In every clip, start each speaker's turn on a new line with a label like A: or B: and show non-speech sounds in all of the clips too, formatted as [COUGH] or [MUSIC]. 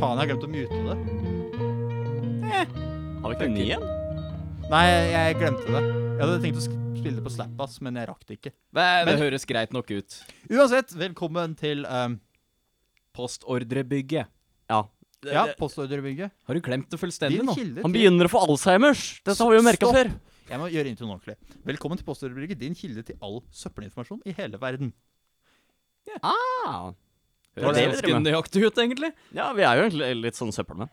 A: faen, jeg har glemt å mute det.
B: Har vi ikke en ny en?
A: Nei, jeg glemte det. Jeg hadde tenkt å sk- spille det på Slap, ass, men jeg rakk det ikke.
B: Det, det
A: Men-
B: høres greit nok ut.
A: Uansett, velkommen til um,
B: Postordrebygget. Ja. Det,
A: ja,
B: det-
A: postordrebygget.
B: Har du glemt det fullstendig
A: Din
B: nå?
A: kilde
C: Han
A: til-
C: begynner å få Alzheimers. Dette har vi jo merka
A: Stopp.
C: før.
A: Jeg må gjøre introen ordentlig. Velkommen til Postordrebygget, din kilde til all søppelinformasjon i hele verden.
C: Ah.
B: Høres det
C: det vi
B: ganske
C: driver med?
B: nøyaktig ut, egentlig.
C: Ja, vi er jo egentlig litt sånn søppelmenn.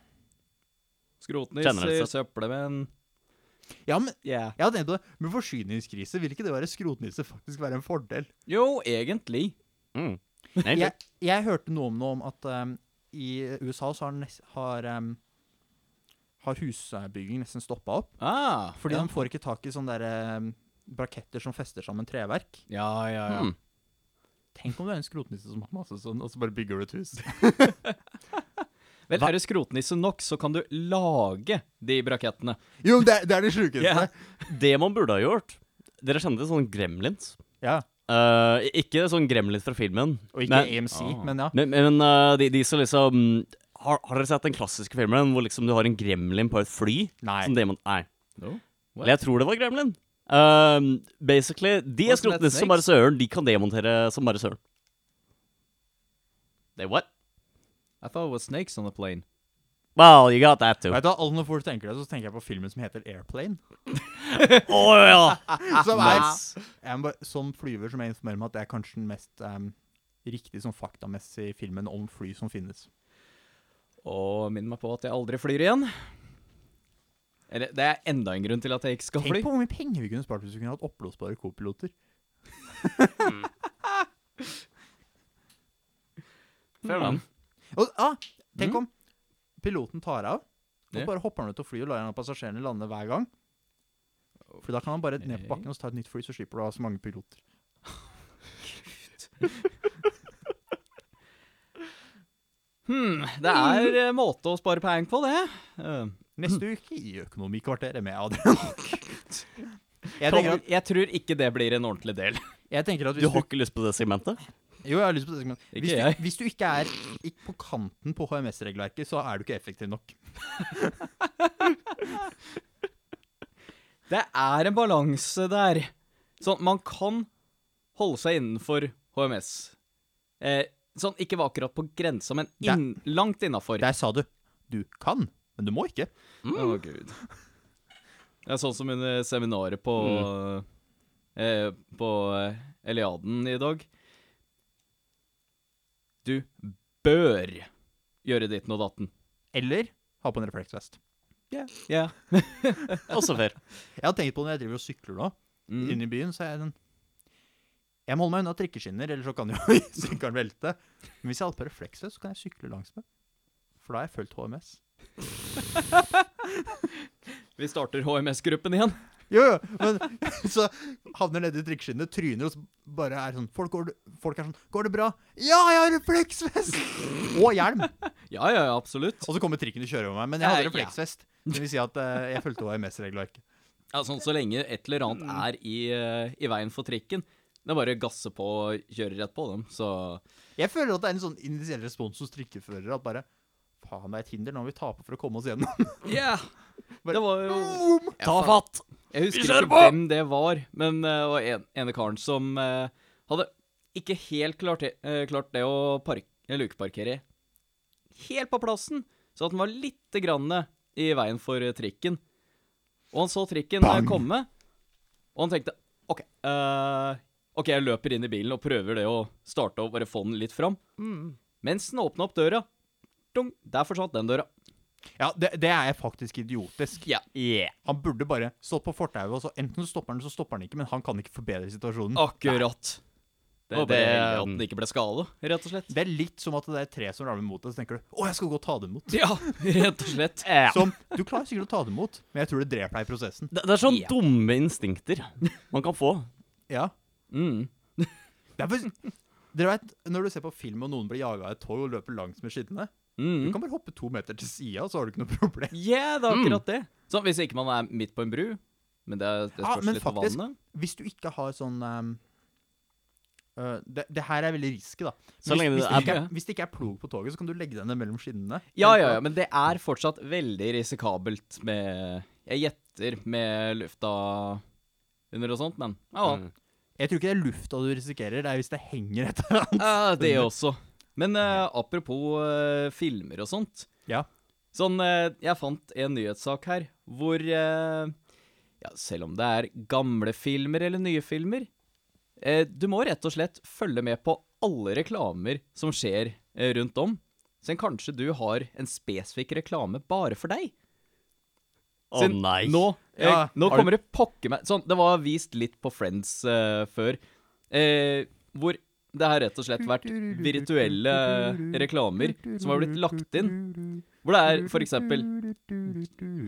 B: Skrotnisser,
C: Generelt
B: søppelmenn
A: Ja, men
B: yeah.
A: jeg har tenkt på det. Med forsyningskrise, vil ikke det å være skrotnisse faktisk være en fordel?
B: Jo, egentlig.
C: Mm. Nei,
A: Jeg, jeg hørte noe om, noe om at um, i USA så har, nes- har, um, har husbygging nesten stoppa opp.
B: Ah,
A: Fordi
B: ja.
A: de får ikke tak i sånne der, um, braketter som fester sammen treverk.
B: Ja, ja, ja.
C: Mm.
A: Tenk om du er en skrotnisse som har masse sånn, og så bare bygger du et hus.
B: Vel, er du skrotnisse nok, så kan du lage de brakettene.
A: [LAUGHS] jo, det, er det sjukeste.
B: Ja.
C: Det man burde ha gjort Dere kjente sånn gremlins?
A: Ja,
C: Eh, ikke sånn gremlins fra filmen.
A: Og ikke
C: men,
A: AMC,
B: Ah.
A: men ja.
C: men, men eh, de, de som liksom har, har dere sett den klassiske filmen hvor liksom du har en gremlin på et fly?
A: Nei.
C: Som demon, nei.
B: No? What?
C: Eller jeg tror det var gremlin. Eh, basically, de er
B: Wasn't that
C: skrotnisser som bare
B: snakes?
C: søren. De kan demontere som bare søren. They what?
B: I thought it was snakes on the plane.
C: Well, you got that too.
A: Vet du, hva, alle Når du tenker det, så tenker jeg på filmen som heter Airplane.
C: Å ja!
A: Som, er,
C: Nice.
A: jeg må bare- som flyver som jeg informerer meg at det er kanskje den mest um, riktig sånn faktamessig filmen om fly som finnes.
B: Og minn meg på at jeg aldri flyr igjen. Eller, det er enda en grunn til at jeg ikke skal
A: Tenk
B: fly.
A: på hvor mye penger vi kunne spart hvis vi kunne hatt oppblåsbare kopiloter.
B: Hmm.
C: Fair enough.
A: Og, ah, tenk om piloten tar av, og
B: Mm. Ja.
A: bare hopper han ut og flyr og lar en av passasjerene lande hver gang. For da kan han bare ned på bakken og så ta et nytt fly, så slipper du å ha så mange piloter.
B: Hmm, det er eh, måte å spare penger på, det. Eh,
A: Neste uke i Økonomikvarteret med
B: [LAUGHS]
A: Adrian. jeg,
B: jeg,
A: tenker at,
B: tror ikke det blir en ordentlig del. [LAUGHS]
A: jeg tenker at
C: Du
A: hvis du
C: har ikke lyst på det
A: [LAUGHS]
C: segmentet?
A: Jo, jeg har lyst på det. men
B: Ikke
A: Hvis
B: jeg.
A: du, hvis du ikke er i- på kanten på HMS-regelverket, så er du ikke effektiv nok.
B: Det er en balanse der. Sånn, man kan holde seg innenfor HMS. Eh, sånn, ikke var akkurat på grensa, men inn, langt innafor.
A: Der sa du. Du kan, men du må ikke.
B: Å, gud. Mm. Det er sånn som under seminaret på Mm. eh, På eh, Eliaden i dag. Du bør gjøre ditten og datten.
A: Eller ha på en refleksvest.
B: Ja.
C: Også fair.
A: Jeg har tenkt på det når jeg driver og sykler nå,
B: Mm.
A: inne i byen, så er jeg den Jeg må holde meg unna trikkeskinner, ellers så kan jo [LAUGHS] sykkelen velte. Men hvis jeg har på refleksvest, så kan jeg sykle langs med. For da har jeg fulgt HMS.
B: Vi starter HMS-gruppen igjen.
A: Jo, jo, men [LAUGHS] så havner nedi trikkeskinnet, tryner, og så bare er sånn folk, går, det- folk er sånn 'Går det bra?' 'Ja, jeg har refleksvest!' [LAUGHS] Og hjelm.
B: Ja, ja, ja, absolutt.
A: Og så kommer trikken og kjører over meg. Men jeg hadde
B: Ja, ja.
A: refleksvest. Det vil si at eh, jeg fulgte HMS-regelverket.
B: Ja, sånn Så lenge et eller annet er i, eh, i veien for trikken, det er bare å gasse på og kjøre rett på dem, så
A: Jeg føler at det er en sånn initiell respons hos trikkeførere at bare Faen, det er et hinder. Nå må vi tape for å komme oss [LAUGHS] gjennom.
B: Ja! Det var jo
C: Ta fatt!
B: Jeg
C: Vi
B: husker
C: kjører
B: ikke
C: på!
B: hvem det var, men eh, det var en, ene karen som eh, hadde ikke helt klart det, eh, klart det å park, eh, lukeparkere helt på plassen, så at den var lite grann i veien for eh, trikken. Og han så trikken eh, komme, og han tenkte OK, eh, ok, jeg løper inn i bilen og prøver det å starte og bare få den litt fram.
C: Mm.
B: Mens den åpna opp døra, dong, der forsvant den døra.
A: Ja, det, det er faktisk idiotisk.
B: Ja.
C: Yeah.
A: Han burde bare stått på fortauet, og så enten så stopper han, så stopper han ikke, men han kan ikke forbedre situasjonen.
B: Akkurat. Det, det,
C: Nei. Mm. Det-
B: at den ikke ble skada, rett og slett.
A: Det er litt som at det er et tre som ramler mot deg, så tenker du 'Å, jeg skal gå og ta det imot'.
B: [LAUGHS] Ja, rett og slett.
C: Ja.
A: Som Du klarer sikkert å ta det imot, men jeg tror det dreper deg i prosessen.
C: Det, det er sånne
B: Ja.
C: dumme instinkter man kan
A: [LAUGHS]
C: få.
A: Ja.
B: Mm.
A: Det er for, dere vet, når du ser på film og noen blir jaga av et tog og løper langs med skinnene Du
B: Mm.
A: kan bare hoppe to meter til sida, så har du ikke noe problem.
B: Yeah, det er akkurat det. Sånn, hvis ikke man er midt på en bru, men det, er- det
A: Ja,
B: spørs
A: men
B: litt på
A: faktisk-
B: vannet.
A: Hvis du ikke har sånn um, Øh, ehm, det, det her er veldig risky, da.
C: Så
A: hvis, hvis,
C: lenge det
A: det
B: er-
A: ikke er, hvis det ikke er plog på toget, så kan du legge deg ned mellom skinnene.
B: Ja, ja, ja, men det er fortsatt veldig risikabelt med Jeg gjetter med lufta under og sånt, men ja. ja.
C: Mm.
A: Jeg tror ikke det er lufta du risikerer, det er hvis det henger et eller annet.
B: Ja, det også. Men eh, apropos eh, filmer og sånt.
A: Ja.
B: Sånn, eh, jeg fant en nyhetssak her hvor eh, ja, Selv om det er gamle filmer eller nye filmer eh, Du må rett og slett følge med på alle reklamer som skjer eh, rundt om. Så kanskje du har en spesifikk reklame bare for deg.
C: Å
B: Siden
C: nei.
B: Nå, eh,
A: Ja,
B: nå
A: har du-
B: kommer det pokker meg Sånn, det var vist litt på Friends eh, før, eh, hvor det har rett og slett vært virtuelle reklamer som har blitt lagt inn. Hvor det er for eksempel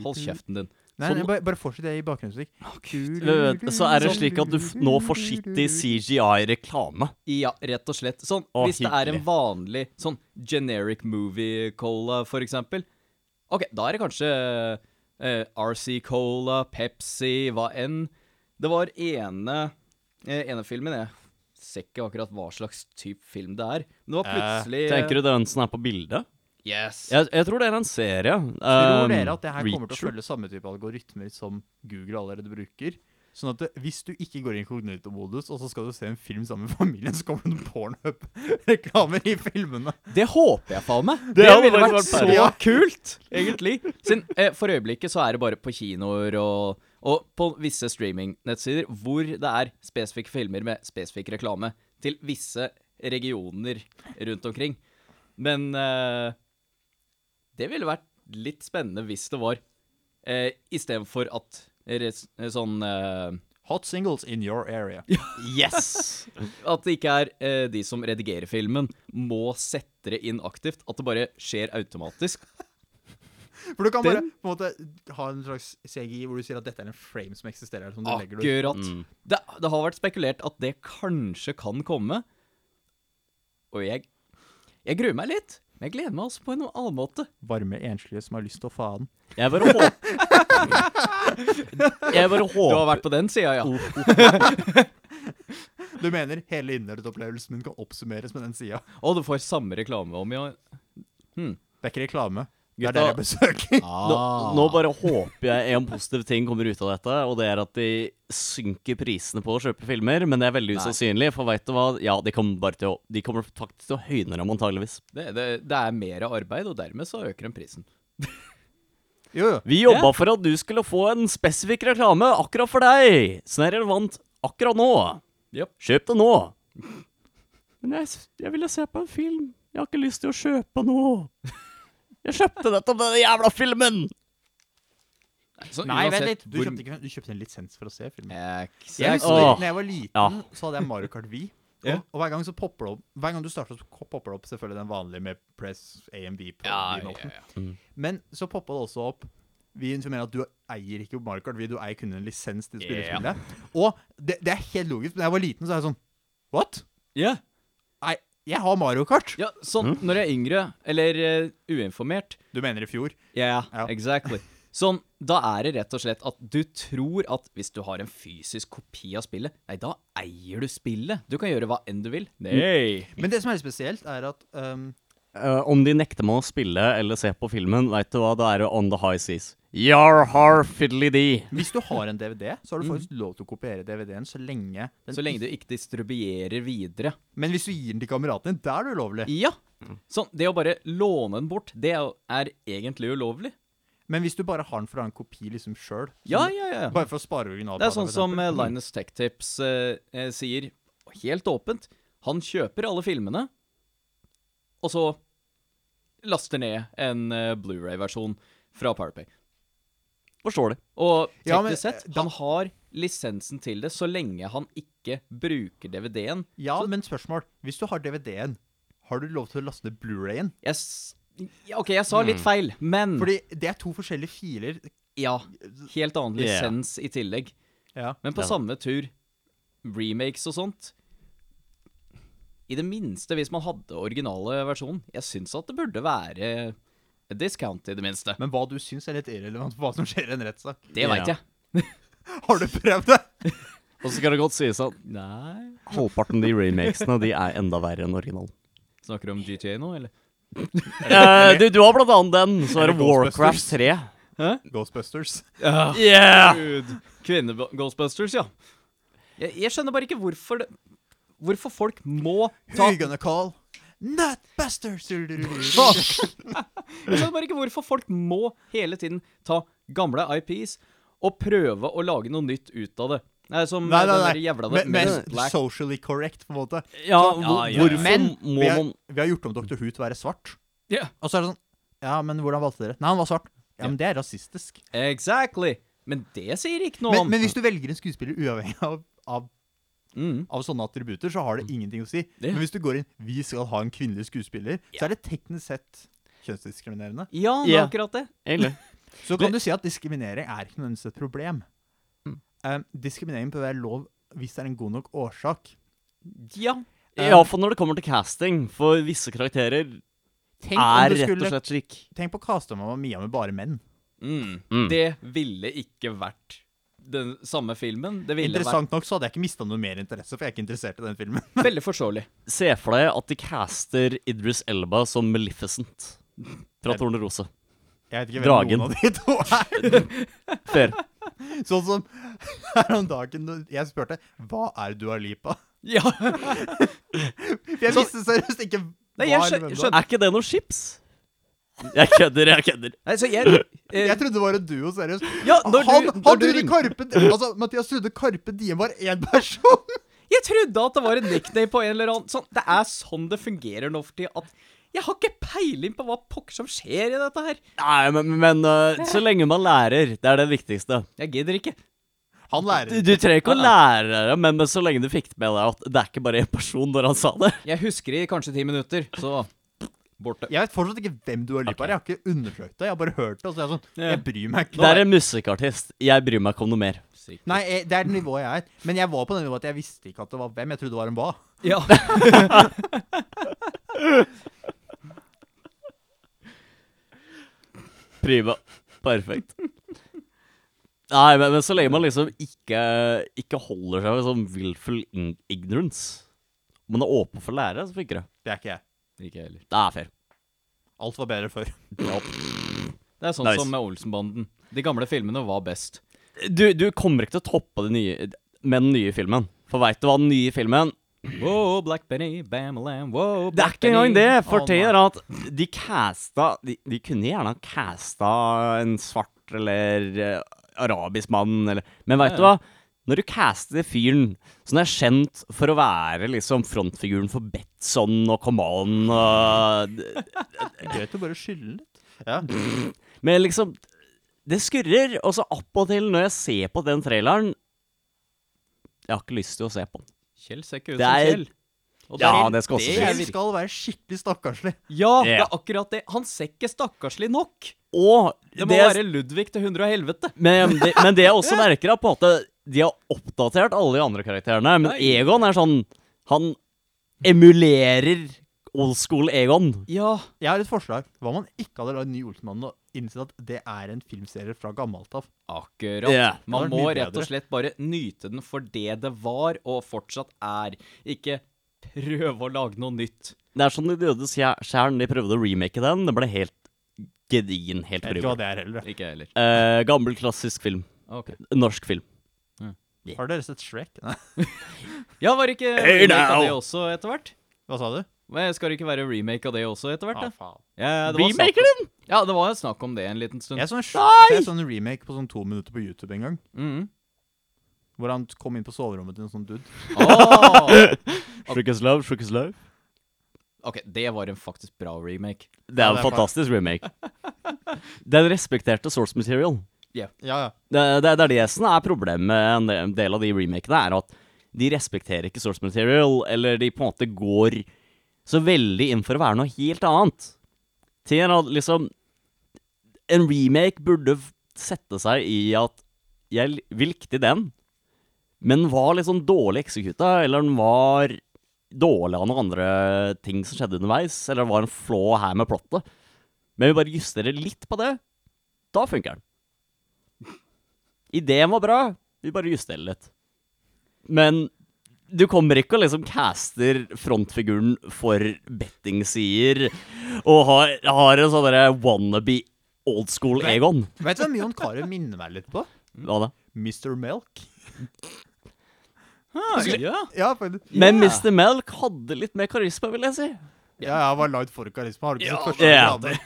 B: Hold kjeften din.
A: Nei, nei, bare, bare fortsett det i bakgrunnsmusikk.
C: Vent, vent, Så er det slik at du f nå får skittig CGI-reklame.
B: Ja, rett og slett. Sånn,
C: Å,
B: hvis det er en
C: hyggelig.
B: vanlig sånn generic movie cola, for eksempel. Ok, da er det kanskje eh, RC Cola, Pepsi, hva enn. Det var ene, eh, ene filmen, jeg ser ikke akkurat hva slags type film det er. Men det var
A: Eh,
B: plutselig
C: Tenker du den som er på bildet?
B: Yes.
C: Jeg, jeg tror det er en serie.
A: Tror
C: Um,
A: dere at det her kommer til å
C: Reacher.
A: følge samme type algoritmer som Google allerede bruker? Sånn at det, hvis du ikke går i inkognito-modus, og så skal du se en film sammen med familien, så kommer det pornhub-reklamer i filmene.
B: Det håper jeg faen meg. Det,
C: Det hadde
B: ville
C: faktisk
B: vært så
C: vært
A: perle.
B: kult,
C: [LAUGHS]
B: egentlig. Siden, eh, for øyeblikket så er det bare på kinoer og, og på visse streamingnettsider hvor det er spesifikke filmer med spesifikk reklame til visse regioner rundt omkring. Men eh, det ville vært litt spennende hvis det var eh, istedenfor at res, eh, sånn eh,
A: Hot singles in your area.
C: Yes!
B: at det ikke er eh, de som redigerer filmen, må sette det inn aktivt. At det bare skjer automatisk.
A: For du kan bare på en måte ha en slags CGI hvor du sier at dette er en frame som eksisterer her. Som du legger det ut.
B: Akkurat. Det, det har vært spekulert at det kanskje kan komme. Og jeg Jeg gruer meg litt, men jeg gleder meg også på en annen måte.
A: Varme enslige som har lyst til å faen.
C: Jeg
A: [LAUGHS]
C: bare håper Jeg bare
B: Du har
C: håper
B: vært på den sida, ja.
A: Du mener hele innholdet-opplevelsen min kan oppsummeres med den sida?
B: Og du får samme reklame om, ja.
A: Det er ikke reklame. Det er
C: Gutta-
A: der jeg besøker.
C: nå, nå bare håper jeg en positiv ting kommer ut av dette, og det er at de synker prisene på å kjøpe filmer, men det er veldig
B: Nei.
C: usannsynlig, for veit du hva? Ja, de kommer bare til å De kommer faktisk til å høyne dem, antageligvis.
B: Det, det, det er mer arbeid, og dermed så øker den prisen.
A: Jo, jo.
C: Vi jobba for at du skulle få en spesifikk reklame akkurat for deg, som er relevant akkurat nå.
B: Japp.
C: Kjøp det nå. Men jeg, s- jeg ville se på en film. Jeg har ikke lyst til å kjøpe noe. Jeg kjøpte nettopp denne jævla filmen!
B: Så
A: Nei,
B: uansett
A: vent litt. Du
B: hvor-
A: kjøpte, ikke, du kjøpte en lisens for å se filmen.
B: Jeg,
A: Jeg
B: jeg,
A: husker
C: Åh.
A: da jeg var liten,
C: Ja.
A: så hadde jeg Mario Kart Wii. Og,
B: [LAUGHS] Ja.
A: og hver gang så popper det opp Hver gang du starter, så ko- popper det opp selvfølgelig den vanlige med press AMB på
B: ja, ja,
A: Wii-knotten.
B: ja. Mm.
A: Men så poppa det også opp Vi informerer at du eier ikke Mario Kart Wii, du eier kun en lisens til
B: Ja.
A: spillespillet. Og det, det er helt logisk. Da jeg var liten, så er jeg sånn What?
B: Ja.
A: Nei, jeg har Mario Kart!
B: Ja, sånn
A: Hm?
B: når jeg er yngre, eller eh, uinformert
A: Du mener i fjor?
B: Ja,
A: Ja.
B: exactly. Sånn, da er det rett og slett at du tror at hvis du har en fysisk kopi av spillet, nei, da eier du spillet. Du kan gjøre hva enn du vil. Nei.
A: Men det som er litt spesielt, er at ehm,
C: Eh, om de nekter meg å spille eller se på filmen, veit du hva, da er det on the high seas. Yar har fiddly dee.
A: hvis du har en DVD, så har du faktisk lov til å kopiere DVD-en så lenge den
B: Så lenge du ikke distribuerer videre.
A: Men hvis du gir den til kameraten din, da er det ulovlig.
B: Ja! Sånn, det å bare låne den bort, det er jo- er egentlig ulovlig.
A: Men hvis du bare har den for å ha en kopi liksom sjøl
B: Ja, ja, ja.
A: Bare for å spare liksom. originalen.
B: Det er sånn som eh, Linus Tech Tips eh, eh, sier, helt åpent. Han kjøper alle filmene, og så laster ned en eh, Blu-ray-versjon fra PowerPay.
C: Forstår det.
B: Og teknisk
A: Ja, men,
B: sett,
A: eh, da-
B: han har lisensen til det så lenge han ikke bruker DVD-en.
A: Ja, men spørsmål. Hvis du har DVD-en, har du lov til å laste ned Blu-rayen?
B: Jeg s ja, OK, jeg sa litt feil, men
A: Fordi det er to forskjellige filer.
B: Ja. Helt annen
C: Yeah.
B: lisens i tillegg.
A: Ja.
B: Men på
C: Ja.
B: samme tur, remakes og sånt I det minste, hvis man hadde originale versjonen Jeg syns at det burde være a discount, i det minste.
A: Men hva du syns er litt irrelevant for hva som skjer i en rettssak.
B: Det veit
C: Ja.
B: jeg.
A: Har du prøvd det?
C: Og så skal det godt sies at
B: Nei
C: halvparten av de remakesene de er enda verre enn originalen.
B: Snakker du om GTA nå, eller?
C: Eh, du, du har blant annet den. Så er det
A: Eller Ghostbusters.
C: Warcraft 3.
A: Ghostbusters.
B: Ja,
C: Yeah!
B: Gud. Kvinne-Ghostbusters, ja. Jeg, jeg skjønner bare ikke hvorfor det Hvorfor folk må [LAUGHS] ta
A: Who you gonna call? Nutbusters! Fuck!
B: Fuck! Jeg skjønner bare ikke hvorfor folk må hele tiden ta gamle IPs og prøve å lage noe nytt ut av det. Nei, som
A: Nei, nei,
B: den der
A: nei.
B: jævla
A: Me- Mest
B: Men Black.
A: socially correct, på en måte.
C: Ja,
B: Ja,
C: hvor,
B: ja, ja.
C: hvorfor
A: Men
C: må
A: vi har,
C: man
A: vi har gjort om Dr. Who til å være svart.
B: Ja.
A: Og så er det sånn Ja, men hvordan valgte dere? Nei, han var svart. Ja, men det er rasistisk.
B: Exactly. Men det sier ikke noe
A: Men,
B: om
A: men hvis du velger en skuespiller uavhengig av, av,
B: mm.
A: av sånne attributter, så har det ingenting å si.
B: Det-
A: Men hvis du går inn 'Vi skal ha en kvinnelig skuespiller', så er det teknisk sett kjønnsdiskriminerende.
B: Ja, det er
C: Ja.
B: akkurat det.
C: Egentlig.
A: Så kan du si at diskriminering er ikke nødvendigvis et problem.
B: Mm.
A: Um, diskriminering bør være lov hvis det er en god nok årsak.
B: Ja.
C: Ja, for når det kommer til casting, for visse karakterer
A: Tenk
C: er
A: om du
C: rett og
A: skulle
C: slett slik.
A: Tenk på Kastamamma Mia med bare menn.
B: Mm.
C: Mm.
B: Det ville ikke vært den samme filmen. Det ville vært
A: Interessant nok så hadde jeg ikke mista noe mer interesse, for jeg er ikke interessert i den filmen.
B: veldig forståelig.
C: Se for deg at de caster Idris Elba som Maleficent fra Tornerose.
A: Jeg vet ikke
C: Dragen.
A: hvem noen av de to er.
C: Fair.
A: Sånn som her om dagen når jeg spurte hva er Dua Lipa?
B: [LAUGHS] Ja.
A: For jeg
B: Så-
A: visste seriøst ikke hva
B: Nei, jeg
A: eller
B: skjø-
A: hvem det
B: skjønner.
A: var.
C: Er ikke det noe chips? Jeg kødder, jeg kødder.
B: Nei, så jeg, eh,
A: Jeg trodde det var en duo, seriøst.
B: ja, når du,
A: han
B: når
A: han
B: du
A: trodde
B: ringte
A: Karpe Altså, Mathias trodde Karpe Diem var én person!
B: Jeg trodde at det var en nickname på en eller annen sånn, Det er sånn det fungerer nå for tida. At jeg har ikke peiling på hva pokker som skjer i dette her.
C: Nei, men, men øh, så lenge man lærer, det er det viktigste.
B: Jeg gidder ikke.
A: Han
C: Du,
A: lærer.
C: du trenger ikke å lære det, men, men så lenge du fikk det med deg at det er ikke bare én person når han sa det.
B: Jeg husker i kanskje ti minutter, så borte.
A: Jeg vet fortsatt ikke hvem Dua Lipa er. Jeg har ikke undersøkt det. Jeg har bare hørt det. Og så er jeg sånn
B: Ja.
A: Jeg bryr meg ikke.
C: Det er en musikkartist. Jeg bryr meg ikke om noe mer.
A: Nei, jeg, det er det nivået jeg er. Men jeg var på det nivået at jeg visste ikke at det var hvem. Jeg trodde det var en hva.
B: Ja.
C: Prima. Perfekt. Nei, men, men så lenge man liksom ikke, ikke holder seg ved sånn willful in- ignorance Om man er åpen for å lære, så funker det.
A: Det er ikke jeg.
B: Ikke jeg heller.
C: Det er fair.
A: Alt var bedre før.
B: Det er sånn
C: Nice.
B: som med Olsenbanden. De gamle filmene var best.
C: Du, du kommer ikke til å toppe det nye med den nye filmen. For veit du hva den nye filmen
B: Wow, Black Benny, Bamalam, wow
C: Det er ikke engang det. For
A: Å,
C: ting
A: nei.
C: er at de casta de, de kunne gjerne ha casta en svart eller eh, arabisk mann, eller Men veit du
B: Ja,
C: hva? Når du caster fyren som er kjent for å være liksom frontfiguren for Betson og Command og
A: Det er greit å bare skylde litt. Ja.
C: Men liksom Det skurrer. Og så appåtil, når jeg ser på den traileren Jeg har ikke lyst til å se på den.
B: Kjell ser ikke ut
C: Det
B: som
C: er-
B: Kjell. Og
C: Ja,
B: er-
C: det skal også
B: det
C: sies.
B: er
A: Kjell
B: virkelig-
A: skal være skikkelig stakkarslig.
B: Ja, det
C: Ja.
B: er akkurat det. Han ser ikke stakkarslig nok.
C: Og
B: Det må være Ludvig til hundre og helvete.
C: Men, det, men det jeg også merker, er på en måte de har oppdatert alle de andre karakterene. Men
B: Nei.
C: Egon er sånn Han emulerer old school Egon.
B: Ja.
A: Jeg har et forslag. Hva om man ikke hadde lagd Ny Olsenmannen og innsett at det er en filmserie fra gammelt av?
B: Akkurat.
C: Ja.
A: Det hadde
B: Man
A: vært
B: må
A: mye
B: rett og
A: bedre.
B: slett bare nyte den for det det var, og fortsatt er. Ikke prøve å lage noe nytt.
C: Det er sånn de døde skjæren. De prøvde å remake den. Det ble helt gedin. Helt
A: Jeg vet ikke hva
C: horribel.
A: det er heller. jeg.
B: Ikke jeg heller.
C: Eh, gammel, klassisk film.
B: Ok.
C: Norsk film.
A: Har dere sett Shrek? Nei.
B: Ja, var det ikke
C: Hey
B: remake av
C: now!
B: det også etter hvert?
A: Hva sa du?
B: Men Skal det ikke være remake av det også etter hvert? da?
A: faen.
B: Ja, Eh, det var snakk-
C: Remaker den!
B: Ja, det var snakk om det en liten stund.
A: Jeg så en, sj-
C: Nei!
A: jeg så en remake på sånn to minutter på YouTube en gang.
B: Mhm.
A: Hvor han kom inn på soverommet til en sånn dude. Ah.
B: Åh!
C: Shook as love, shook as love.
B: [LAUGHS] OK, det var en faktisk bra remake.
C: Det er
A: Ja, det
C: en
A: er faen.
C: fantastisk remake. Den respekterte source material.
A: Ja, ja.
C: Det, det, det er det som er problemet med en del- en del av de remakene, er at de respekterer ikke source material, eller de på en måte går så veldig inn for å være noe helt annet. Ting er at liksom En remake burde f- sette seg i at jeg l- vi likte den, men den var litt sånn dårlig eksekuta, eller den var dårlig av noen andre ting som skjedde underveis, eller det var en flå her med plottet. Men vi bare justerer litt på det, da funker den. Ideen var bra, vi bare justerer litt. Men du kommer ikke og liksom caster frontfiguren for bettingsider og har, har en sånn derre wannabe old school Egon.
A: Vet du hva Mion Carew minner meg litt på?
C: Hva da?
A: Mr. Melk.
B: Ah, ja.
A: Ja, faktisk.
C: Men
B: Ja.
C: Mr. Melk hadde litt mer karisma, vil jeg si.
A: Ja, jeg var lagd for karisma. Har du ikke
B: Ja.
A: sett første
C: Ja.
A: grade?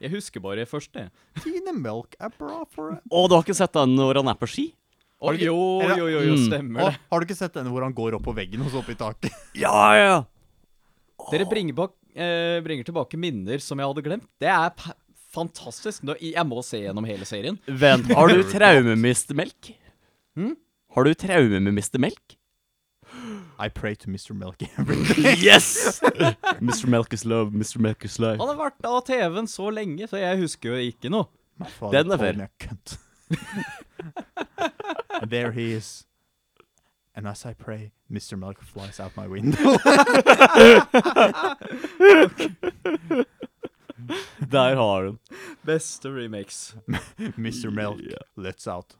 B: Jeg husker bare først det.
A: Tine Melk er bra for deg.
C: Og du har ikke sett den når han er på ski?
B: Å,
A: du ikke-
B: jo,
A: eller-
B: jo, jo, jo,
C: Mm.
B: stemmer
A: Og
B: det.
A: har du ikke sett den hvor han går opp på veggen og så opp i taket?
C: Ja, ja.
A: Mm.
B: Dere bringer, bak, eh, bringer tilbake minner som jeg hadde glemt. Det er pa- fantastisk. Nå, jeg må se gjennom hele serien.
C: Vent, har [LAUGHS] du traume med Mr. Melk? Hm? Har du traume med Mr. Melk?
A: I pray to Mr. Melk every day.
C: [LAUGHS] Yes! Mr. Melk is love, Mr. Melk is life.
B: Han har vært av TV-en så lenge, så jeg husker jo ikke noe.
A: My father
C: Den er
A: called
C: fair.
A: me a cunt. [LAUGHS] And there he is. And as I pray, Mr. Melk flies out my window. [LAUGHS]
C: Der har hun.
B: Beste remakes.
A: Mr. Melk
C: Ja.
A: lets out.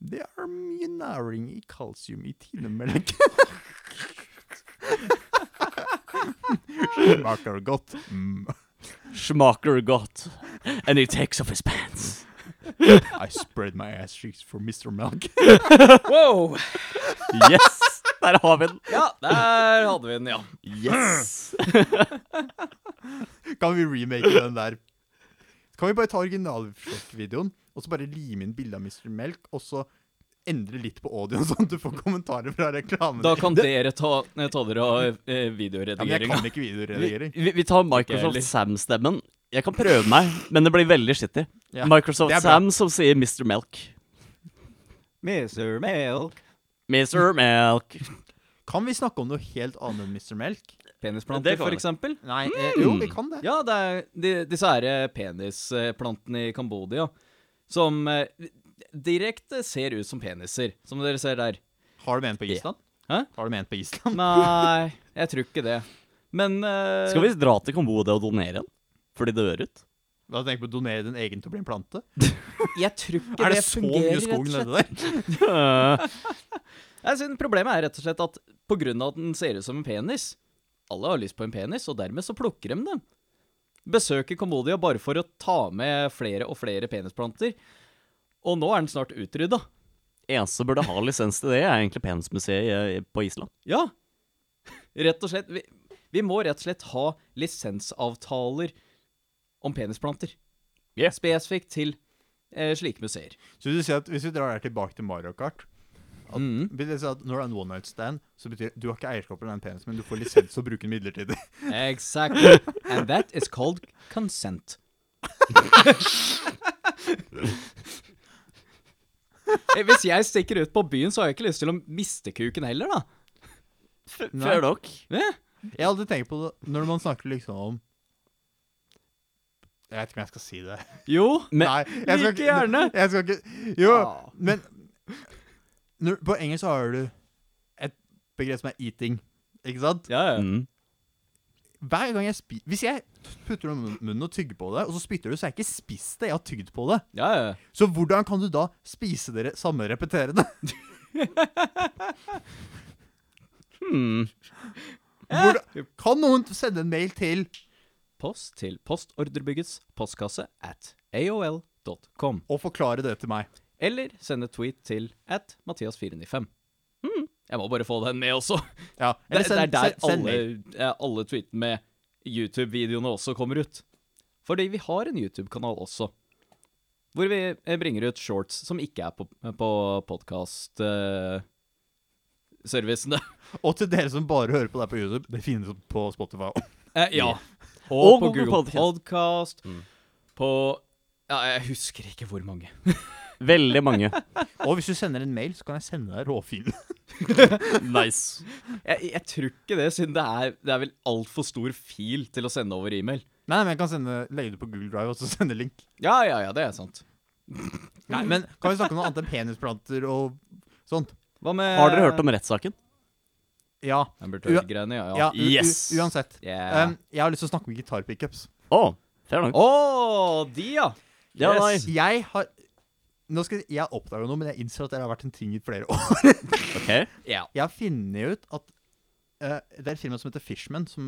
A: Det er mye næring i kalsium i [LAUGHS] tinemelk. Smaker godt. Mm.
C: Schmaker got, and he takes off his pants.
A: I spread my ass cheeks for Mr. Melk.
B: Wow!
C: Yes! Der har vi den.
B: Ja, der hadde vi den, ja.
C: Yes!
A: [LAUGHS] Kan vi remake den der? Kan vi bare ta originalvideoen, og så bare lime inn bilde av Mr. Melk, og så endre litt på audioen, [LAUGHS] sånn at du får kommentarer fra reklamen?
B: Da kan dere ta, eh, ta dere av eh,
A: ja, men jeg
B: videoredigeringa.
A: kan ikke videoredigering.
C: Vi, vi tar
B: Ikke
C: Microsoft
B: heller.
C: Sam-stemmen. Jeg kan prøve meg, men det blir veldig skittig.
A: Ja,
C: Microsoft
A: det er bra.
C: Sam som sier Mr. Melk.
B: Mr. Milk.
A: Mm.
C: Mr. Melk.
A: Kan vi snakke om noe helt annet enn Mr. Melk?
B: Penisplanter,
C: Det kan
B: for
C: vi.
B: eksempel.
A: Nei, eh, jo, vi kan det.
B: mm. Ja, det er de, disse her eh, penisplantene i Kambodia som eh, direkte ser ut som peniser, som dere ser der.
A: Har du med en på Island?
B: Hæ?
A: Har du med en på Island? [LAUGHS]
B: Nei, jeg tror ikke det. Men eh,
C: Skal vi dra til Kambodia og donere den? Fordi det dør
A: [LAUGHS]
C: ut?
A: Hva tenker du på å donere din egen til å bli en plante?
B: Jeg tror ikke
A: Er
B: det,
A: det så
B: fungerer,
A: mye skog
B: rett og slett.
A: nede der?
C: Eh,
B: Jeg synes Problemet er rett og slett at pga. at den ser ut som en penis Alle har lyst på en penis, og dermed så plukker de den. Besøker Kambodia bare for å ta med flere og flere penisplanter. Og nå er den snart utrydda.
C: Eneste burde ha lisens til det, er egentlig Penismuseet eh, på Island.
B: Ja. [LAUGHS] Rett og slett. Vi, vi må rett og slett ha lisensavtaler om penisplanter.
C: Ja.
B: Spesifikt til eh, slike museer.
A: Så du sier at Hvis vi drar der tilbake til Mario Kart at,
C: [LAUGHS]
B: Mhm.
A: vil det si at Når det er en one night stand, så betyr det du har ikke eierskap til den penisen, men du får lisens til å bruke den
B: [LAUGHS]
A: midlertidig.
B: Exactly. And that is called consent. Eh, Hvis jeg stikker ut på byen, så har jeg ikke lyst til å miste kuken heller, da.
A: Nei.
C: Fair nok.
B: Eh?
A: Jeg hadde tenkt på det når man snakker liksom om Jeg vet ikke om jeg skal si det.
B: Jo.
C: Men-
A: Nei, jeg skal
B: like
A: ikke-
B: gjerne.
A: Jeg skal ikke Jo,
B: Ah.
A: men når, På engelsk så har du et begrep som er 'eating'. Ikke sant?
B: Ja, ja.
C: Mm.
A: Hver gang jeg spiser Hvis jeg putter det i mun- munnen og tygger på det, og så spytter du, så har jeg ikke spist det, jeg har tygd på det.
B: ja, ja.
A: Så hvordan kan du da spise dere samme repeterende?
C: Hmm.
A: Hvordan, kan noen sende en mail til
B: Post til postordrebyggets postkasse at aol.com.
A: og forklare det til meg?
B: Eller send et tweet til at Mathias495. Jeg må bare få den med også.
A: Ja,
B: Det,
A: Hmm. eller
B: det er
A: send-
B: der
A: send- send
B: alle,
A: mail.
B: ja, alle tweetene med YouTube-videoene også kommer ut. Fordi vi har en YouTube-kanal også. Hvor vi eh, bringer ut shorts som ikke er på, på podkast-servicene.
A: [LAUGHS] Og til dere som bare hører på det her på YouTube, det finnes på Spotify.
B: Eh, ja. Og,
C: Og
B: på
C: Google
B: Google
C: Podcast.
B: Podcast.
A: Hmm.
B: På ja, Jeg husker ikke hvor mange.
C: Veldig
A: [LAUGHS]
C: mange.
A: [LAUGHS] Og hvis du sender en mail, så kan jeg sende deg råfilen.
C: Nice.
B: Jeg, jeg tror ikke det, siden det er, det er vel altfor stor fil til å sende over e-mail.
A: Nei, men jeg kan sende, legge det på Google Drive og så sende link.
B: Ja, ja, ja, det er sant.
A: Nei, men Kan vi snakke om noe annet enn penisplanter og sånt?
B: Hva med
C: Har dere
A: Eh.
C: hørt om rettssaken?
A: Ja.
B: Amber
A: Ua-
B: Turd-greiene? Ja. ja.
A: ja u
C: Yes.
A: U uansett.
B: Yeah.
A: Um, jeg har lyst til å snakke om gitarpickups.
C: Å, fair nok.
B: Å, de, ja.
C: Ja,
B: yes.
C: nei.
A: Jeg har Nå skal jeg, jeg oppdaga noe, men jeg innser at det har vært en ting i flere år. [LAUGHS]
C: Ok?
B: Ja.
A: Jeg har funnet ut at eh, det er et firma som heter Fishman, som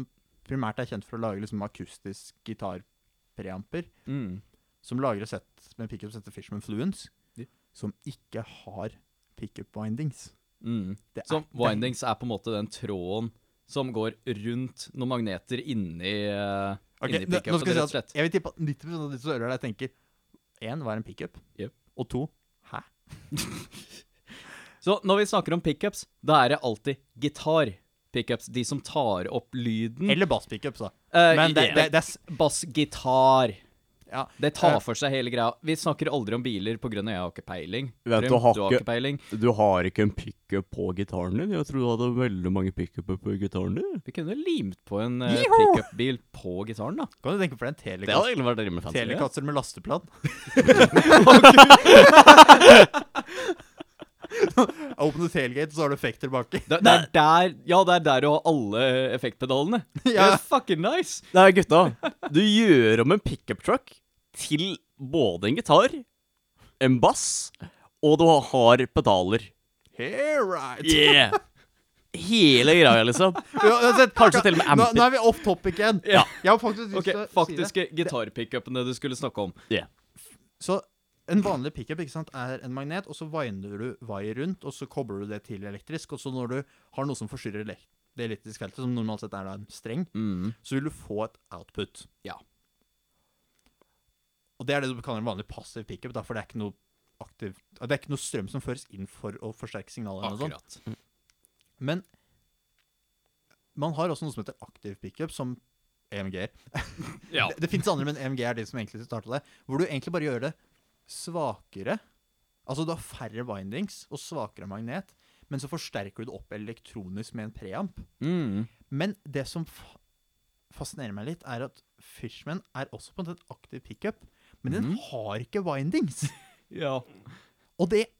A: primært er kjent for å lage liksom, akustisk gitarpreamper,
B: Mm.
A: som lager et sett med pickup som heter Fishman Fluence,
B: Ja.
A: som ikke har pickup windings.
B: Mm.
A: Ah, Det
B: Så
A: er
B: windings er på en måte den tråden som går rundt noen magneter inni, eh,
A: Ok,
B: inni
A: nå- nå
B: pickupen,
A: skal
B: rett
A: jeg, si
B: og
A: at,
B: slett.
A: jeg vil tippe at 90 av de som hører deg, tenker én, hva er en pickup?
B: Jep.
A: Og to, hæ?
B: Så når vi snakker om pickups, da er det alltid gitar. Pickups, de som tar opp lyden.
A: Eller basspickups, da.
B: Eh,
A: Men det,
B: i-
A: det, det er s-
B: Bassgitar.
A: ja.
B: Det tar
A: Eh.
B: for seg hele greia. Vi snakker aldri om biler på grunn av jeg har ikke peiling.
C: Vent,
B: Trym,
C: du har ikke-
B: peiling.
C: Du har ikke en pickup på gitaren din? Jeg tror du hadde veldig mange pickuper på gitaren din.
B: Vi kunne limt på en eh,
A: Yeehaw!
B: pickup-bil på gitaren, da.
A: Kan du tenke på det? En
C: Det
A: telekast-
C: hadde egentlig vært rimelig fancy. ja.
A: telekasser med [LAUGHS] lasteplan? Åpne tailgate, så har du effekt tilbake.
B: Det, det er der Ja, det er der du har alle
A: [LAUGHS]
B: effektpedalene. Det
A: Ja.
B: er fucking nice.
C: Nei, gutta. Du gjør om en pickup truck til både en gitar, en bass, og du har pedaler.
A: Here right.
C: Yeah! Hele greia, liksom.
A: Uansett,
C: Kanskje til og med
A: nå,
C: amper.
A: nå er vi off topic igjen.
B: Ja.
A: Jeg har faktisk lyst
B: Ok,
A: til å si det.
B: faktiske gitarpickupene du skulle snakke om.
C: Yeah.
A: Så en vanlig pickup ikke sant, er en magnet, og så viner du vaier rundt, og så kobler du det til elektrisk. Og så når du har noe som forstyrrer elek- det elektriske feltet, som normalt sett er da en streng,
B: Mm.
A: så vil du få et output.
B: Ja.
A: Og det er det du kaller en vanlig passiv pickup, da, for det er ikke noe aktiv, det er ikke noe strøm som føres inn for å forsterke signalet. eller noe sånt.
B: Akkurat.
A: Men man har også noe som heter aktiv pickup, som [LAUGHS] EMG-er.
B: Ja.
A: Det, det fins andre, men EMG er de som egentlig starta det. Hvor du egentlig bare gjør det svakere. Altså du har færre bindings og svakere magnet, men så forsterker du det opp elektronisk med en preamp.
B: Mm.
A: Men det som fa fascinerer meg litt, er at Fishman er også på en måte en aktiv pickup, men den har ikke bindings.
B: ja.
A: [LAUGHS] Og det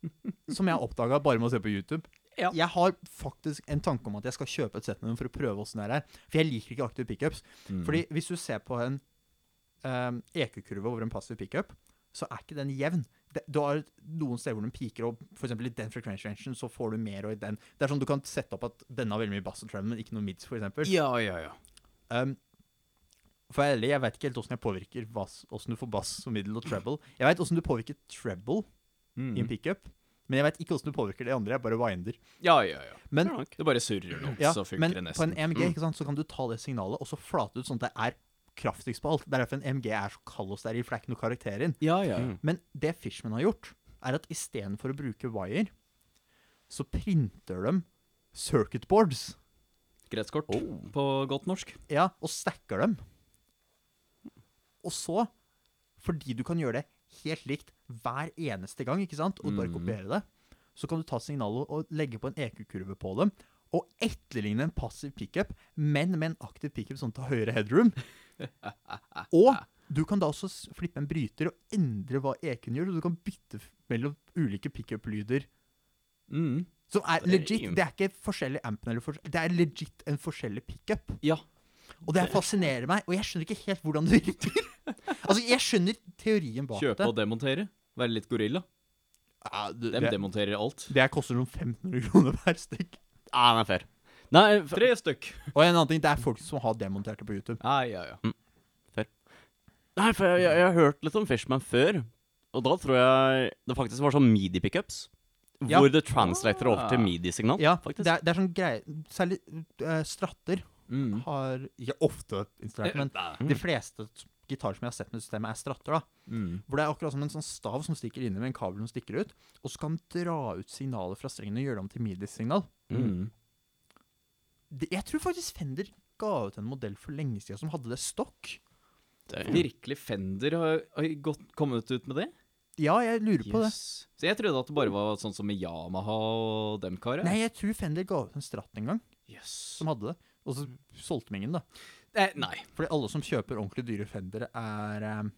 A: som jeg oppdaga bare med å se på YouTube
B: Ja.
A: Jeg har faktisk en tanke om at jeg skal kjøpe et sett med dem for å prøve åssen det her er. For jeg liker ikke aktive pickups.
B: Mm. Mhm.
A: Fordi hvis du ser på en um, EQ-kurve over en passiv pickup, så er ikke den jevn. Det- Du har noen steder hvor den piker, og f.eks. i den frequency rangen så får du mer, og i den Det er sånn du kan sette opp at denne har veldig mye bass og treble, men ikke noe mids, f.eks.
B: Ja, ja, ja.
A: Um, for jeg, er ærlig, jeg vet ikke helt åssen jeg påvirker bass- åssen du får bass og middel og treble. Jeg veit åssen du påvirker treble i en
B: Mm.
A: pickup. Men jeg veit ikke åssen du påvirker det andre. Jeg bare winder.
B: Ja, ja, ja.
A: Men,
B: Det bare surrer noe,
A: ja,
B: så funker
A: men
B: det
A: på
B: nesten. Mm.
A: en EMG ikke sant, så kan du ta det signalet og så flate ut sånn at det er kraftigst på alt. Det er derfor en EMG er så kald og steril, for det er ikke noe karakter inn.
B: Ja, ja.
C: Mm.
A: Men det Fishman har gjort, er at istedenfor å bruke wire, så printer de circuit boards.
B: Gresskort
A: Oh.
B: på godt norsk.
A: Ja, og stacker dem. Og så, fordi du kan gjøre det helt likt hver eneste gang, ikke sant, og bare
B: Mm.
A: kopiere det, så kan du ta signalet og legge på en EQ-kurve på dem, og etterligne en passiv pickup, men med en aktiv pickup sånn til høyere headroom. Og du kan da også s- flippe en bryter og endre hva EQ-en gjør, så du kan bytte f- mellom ulike pickup-lyder.
B: Mm.
A: Som er
C: Det er
A: legit.
C: jo-
A: Det er ikke forskjellig ampen eller forskjell. Det er legit en forskjellig pickup.
B: Ja.
A: Og det her fascinerer meg, og jeg skjønner ikke helt hvordan det virker. [LAUGHS] altså, jeg skjønner teorien bak
B: Kjøpe
A: det.
B: og demontere. Være litt gorilla.
A: Ja, det,
B: Dem demonterer alt.
A: det her koster sånn 1500 kroner per stykk.
C: Nei, Ah, den er fair. Nei, f-
B: Tre stykk.
A: Og en annen ting, det er folk som har demontert det på YouTube.
B: Ja, ja, ja.
C: Nei, for jeg, jeg, jeg har hørt litt om Fishman før, og da tror jeg det faktisk var sånn midi-pickups.
A: Ja.
C: Hvor det translater over til
B: Ah.
C: midi-signal.
A: Ja,
C: faktisk.
A: det er, det er sånn greie Særlig eh, stratter
B: Mm.
A: har Ikke ofte installert, men de fleste t- gitarer som jeg har sett med systemet, er stratter. da
B: Mm.
A: Hvor det er akkurat som en sånn stav som stikker inni med en kabel som stikker ut, og så kan den dra ut signalet fra strengen og gjøre det om til midi-signal.
B: Mm.
A: Det- Jeg tror faktisk Fender ga ut en modell for lenge siden som hadde det stokk.
C: Det-
B: Virkelig Fender har, har gått, kommet ut med det?
A: Ja, jeg lurer på det.
B: Yes. Så jeg trodde at det bare var sånn som med Yamaha og dem karet.
A: Nei, jeg tror Fender ga ut en Strat en gang,
B: Yes.
A: som hadde det. Og så solgte de ingen, da.
B: Eh, nei.
A: Fordi alle som kjøper ordentlig dyre Fender, er eh,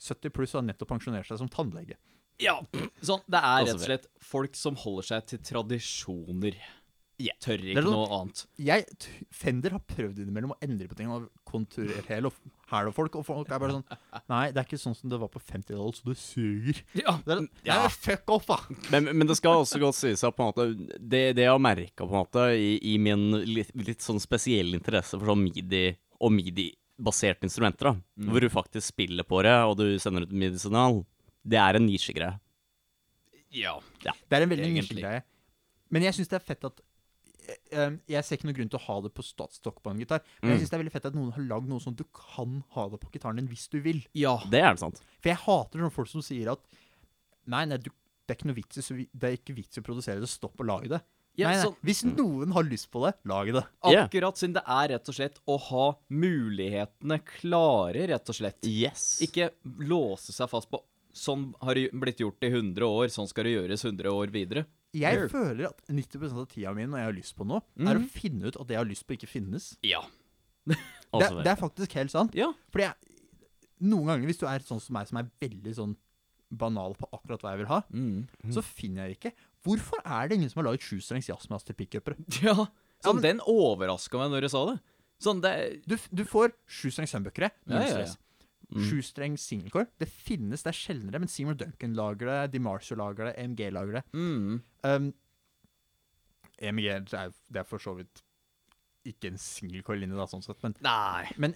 A: 70 pluss og har nettopp pensjonert seg som tannlege.
B: Ja. Sånn, det er
C: Altså,
B: rett og slett folk som holder seg til tradisjoner. Jeg tør
A: er
B: ikke
A: sånn-
B: noe annet.
A: jeg, t- Fender har prøvd innimellom å endre på ting og konturere hæl og folk, og folk er bare
C: [LAUGHS]
A: sånn Nei, det er ikke sånn som det var på 50-tallet, så det suger.
B: Ja,
A: Det er, det
C: Mm, Ja.
A: er fuck off, da!
C: Men, men det skal også godt sies at på en måte, det, det jeg har merka på en måte i, i min litt, litt sånn spesielle interesse for sånn midi og midi-baserte instrumenter, da,
B: Mm.
C: hvor du faktisk spiller på det, og du sender ut en midi-signal, det er en nisjegreie.
B: ja.
A: Det er en veldig
B: Egentlig.
A: nisjegreie. Men jeg syns det er fett at eh, jeg ser ikke noen grunn til å ha det på statstock på en gitar, men
C: Mm.
A: jeg syns det er veldig fett at noen har lagd noe sånn at du kan ha det på gitaren din hvis du vil.
B: ja.
C: Det er det sant.
A: For jeg hater sånne folk som sier at Nei, nei, du, det er ikke noe vits i, så vi- det er ikke vits i å produsere det, stopp å lage det.
B: Ja,
A: nei, nei,
B: sånn-
A: Hvis noen har lyst på det, lag det.
C: Ja.
B: Akkurat siden det er rett og slett å ha mulighetene klare, rett og slett.
C: Yes.
B: Ikke låse seg fast på Sånn har det blitt gjort i 100 år, sånn skal det gjøres 100 år videre.
A: Jeg føler at 90 av tida mi når jeg har lyst på noe, er å finne ut at det jeg har lyst på, ikke finnes.
B: Ja.
A: Det,
C: Altså,
A: det er faktisk helt sant.
B: Ja.
A: Fordi jeg, noen ganger, hvis du er sånn som meg, som er veldig sånn banal på akkurat hva jeg vil ha,
B: Mm.
A: så finner jeg det ikke. Hvorfor er det ingen som har laget sjustrengs jazzmaster pickupere?
B: [LAUGHS] ja.
A: Ja,
B: Sånn,
A: men-
B: den overraska meg når du sa det. Sånn, det
A: Du, f- du får sjustrengs humbuckere.
B: Ja,
A: Null
B: ja, Mm. ja.
A: stress. Sjustrengs singlecore. Det finnes, det er sjeldnere, men Seymour Duncan lager det, DiMarcio lager det, EMG lager det.
B: mm.
A: Um, EMG er, det er for så vidt ikke en singlecore-linje, da, sånn sett, men
B: Nei.
A: Men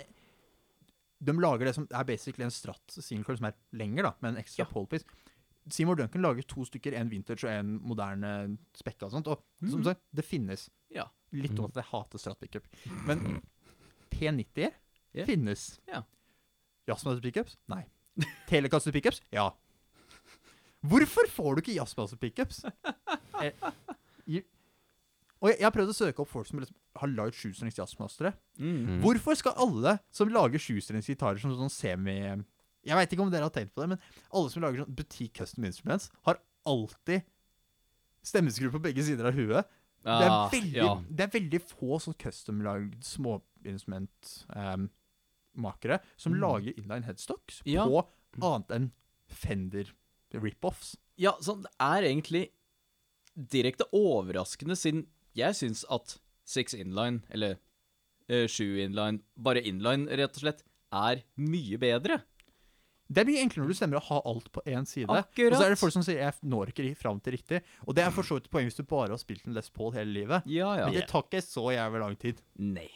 A: de lager det som er basically en stratt singlecore som er lenger, da, med en ekstra
B: Ja.
A: pole piece. Seymour Duncan lager to stykker, en vintage og en moderne spekka og sånt. Og
B: Mm.
A: som sagt, det finnes.
B: Ja.
A: Litt
B: Mm.
A: om at jeg hater strat pickup. Men P90-er
B: Ja.
A: finnes.
B: Ja.
A: Jazzmaster pickups? Nei. [LAUGHS] Telecaster pickups? Ja. Hvorfor får du ikke jazzmaster
B: [LAUGHS]
A: pickups? Eh, gi- Og jeg, jeg har prøvd å søke opp folk som liksom har lagd sjustrengs jazzmastere.
B: Mm.
A: Hvorfor skal alle som lager sjustrengsgitarer som sånn semi Jeg veit ikke om dere har tenkt på det, men alle som lager sånn butikk custom instruments, har alltid stemmeskruer på begge sider av huet. det, er
B: Ah,
A: veldig,
B: ja.
A: det er veldig få sånn custom-lagd småinstrumentmakere som lager inline headstocks
B: Mm. Ja.
A: på annet enn Fender rip-offs.
B: Ja, sånn, det er egentlig direkte overraskende, siden jeg syns at six inline, eller eh, sju inline, bare inline, rett og slett, er mye bedre.
A: Det er mye enklere når du stemmer å ha alt på én side. Og så er
B: Akkurat.
A: det folk som sier 'jeg når ikke fram til riktig'. Og det er for så vidt et poeng hvis du bare har spilt en Les Paul hele livet.
B: Ja, ja.
A: Men det tar ikke så jævlig lang tid.
B: Nei.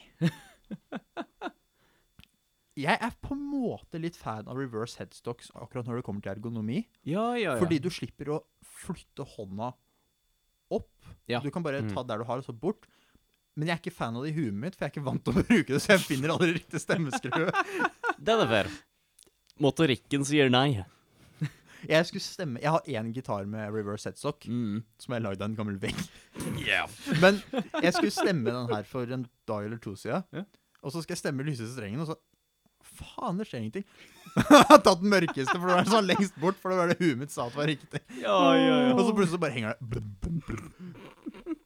A: Jeg er på en måte litt fan av reverse headstocks akkurat når det kommer til ergonomi.
B: Ja, ja, ja.
A: Fordi du slipper å flytte hånda opp.
B: Ja.
A: Du kan bare ta der du har, og så bort. Men jeg er ikke fan av det i huet mitt, for jeg er ikke vant til å bruke det. Så jeg finner aldri riktig stemmeskru.
C: Den er fair. Motorikken sier nei.
A: Jeg skulle stemme Jeg har én gitar med reverse headstock,
B: Mm.
A: som jeg har lagd av en gammel vegg. Men jeg skulle stemme den her for en dag eller to siden.
B: Ja.
A: Og så skal jeg stemme lyseste strengen, og så Faen, det skjer ingenting. [LAUGHS] jeg har tatt den mørkeste, for det var sånn lengst bort. For det var det huet mitt sa at var riktig.
B: ja, ja, ja.
A: Og så plutselig bare henger det blum, blum, blum.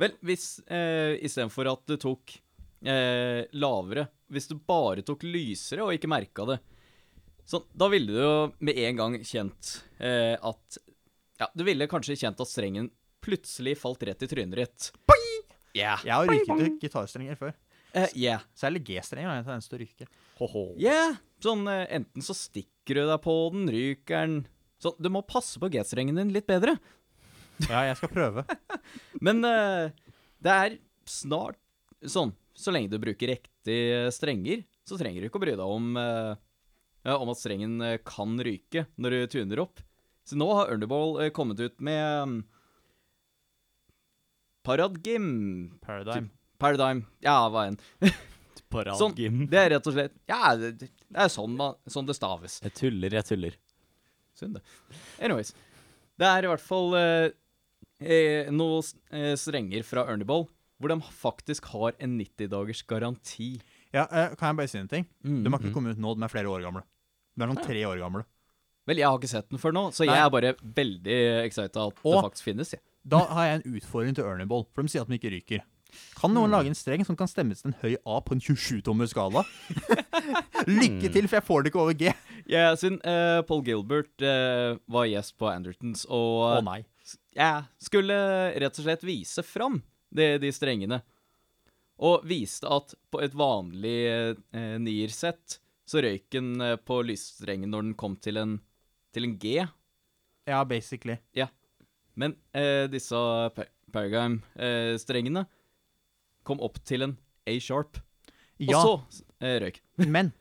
B: Vel, hvis eh, istedenfor at du tok eh, lavere Hvis du bare tok lysere og ikke merka det, sånn, da ville du jo med en gang kjent eh, at Ja, du ville kanskje kjent at strengen plutselig falt rett i trynet ditt. Ja.
A: Jeg har ryket ut gitarstrenger før.
B: Eh, yeah.
A: Særlig G-strenger har jeg en tendens til å ryke.
B: Yeah. Sånn, eh, enten så stikker du deg på den, ryker den Sånn, du må passe på G-strengen din litt bedre.
A: Ja, jeg skal prøve.
B: Men eh, det er snart sånn Så lenge du bruker riktig strenger, så trenger du ikke å bry deg om, eh, ja, om at strengen eh, kan ryke når du tuner opp. Så nå har Underball eh, kommet ut med um, Paradgim
A: Paradigm.
B: Paradigm. Ja, hva enn. Sånn.
C: Paradgym.
B: Det er rett og slett Ja, det, det er sånn, man, sånn det staves.
C: Jeg tuller, jeg tuller.
B: Synd, det. Anyways. Det er i hvert fall eh, eh, noen eh, strenger fra Ørneball hvor de faktisk har en 90-dagers garanti.
A: Ja, eh, kan jeg bare si en ting?
B: Mm.
A: De har ikke kommet ut nå, de er flere år gamle. De er sånn tre år gamle.
B: Vel, jeg har ikke sett den før nå, så
A: Nei.
B: jeg er bare veldig excita at det
A: Og-
B: faktisk finnes. jeg.
A: Da har jeg en utfordring til Ernie Ball, for de sier at de ikke ryker. Kan
B: Mm.
A: noen lage en streng som kan stemmes til en høy A på en 27-tommer
B: [LAUGHS]
A: skala? Lykke til, for jeg får det ikke over G. Å
B: Ja, siden eh, Paul Gilbert eh, var gjest på Andertons og
A: nei.
B: jeg skulle rett og slett vise fram de, de strengene. Og viste at på et vanlig eh, nier-sett så røyk den eh, på lysstrengen når den kom til en, til en G.
A: Ja, basically.
B: Men eh, disse Paradigm-strengene kom opp til en A-sharp. Og
A: Ja,
B: så Mm. eh, røyk.
A: men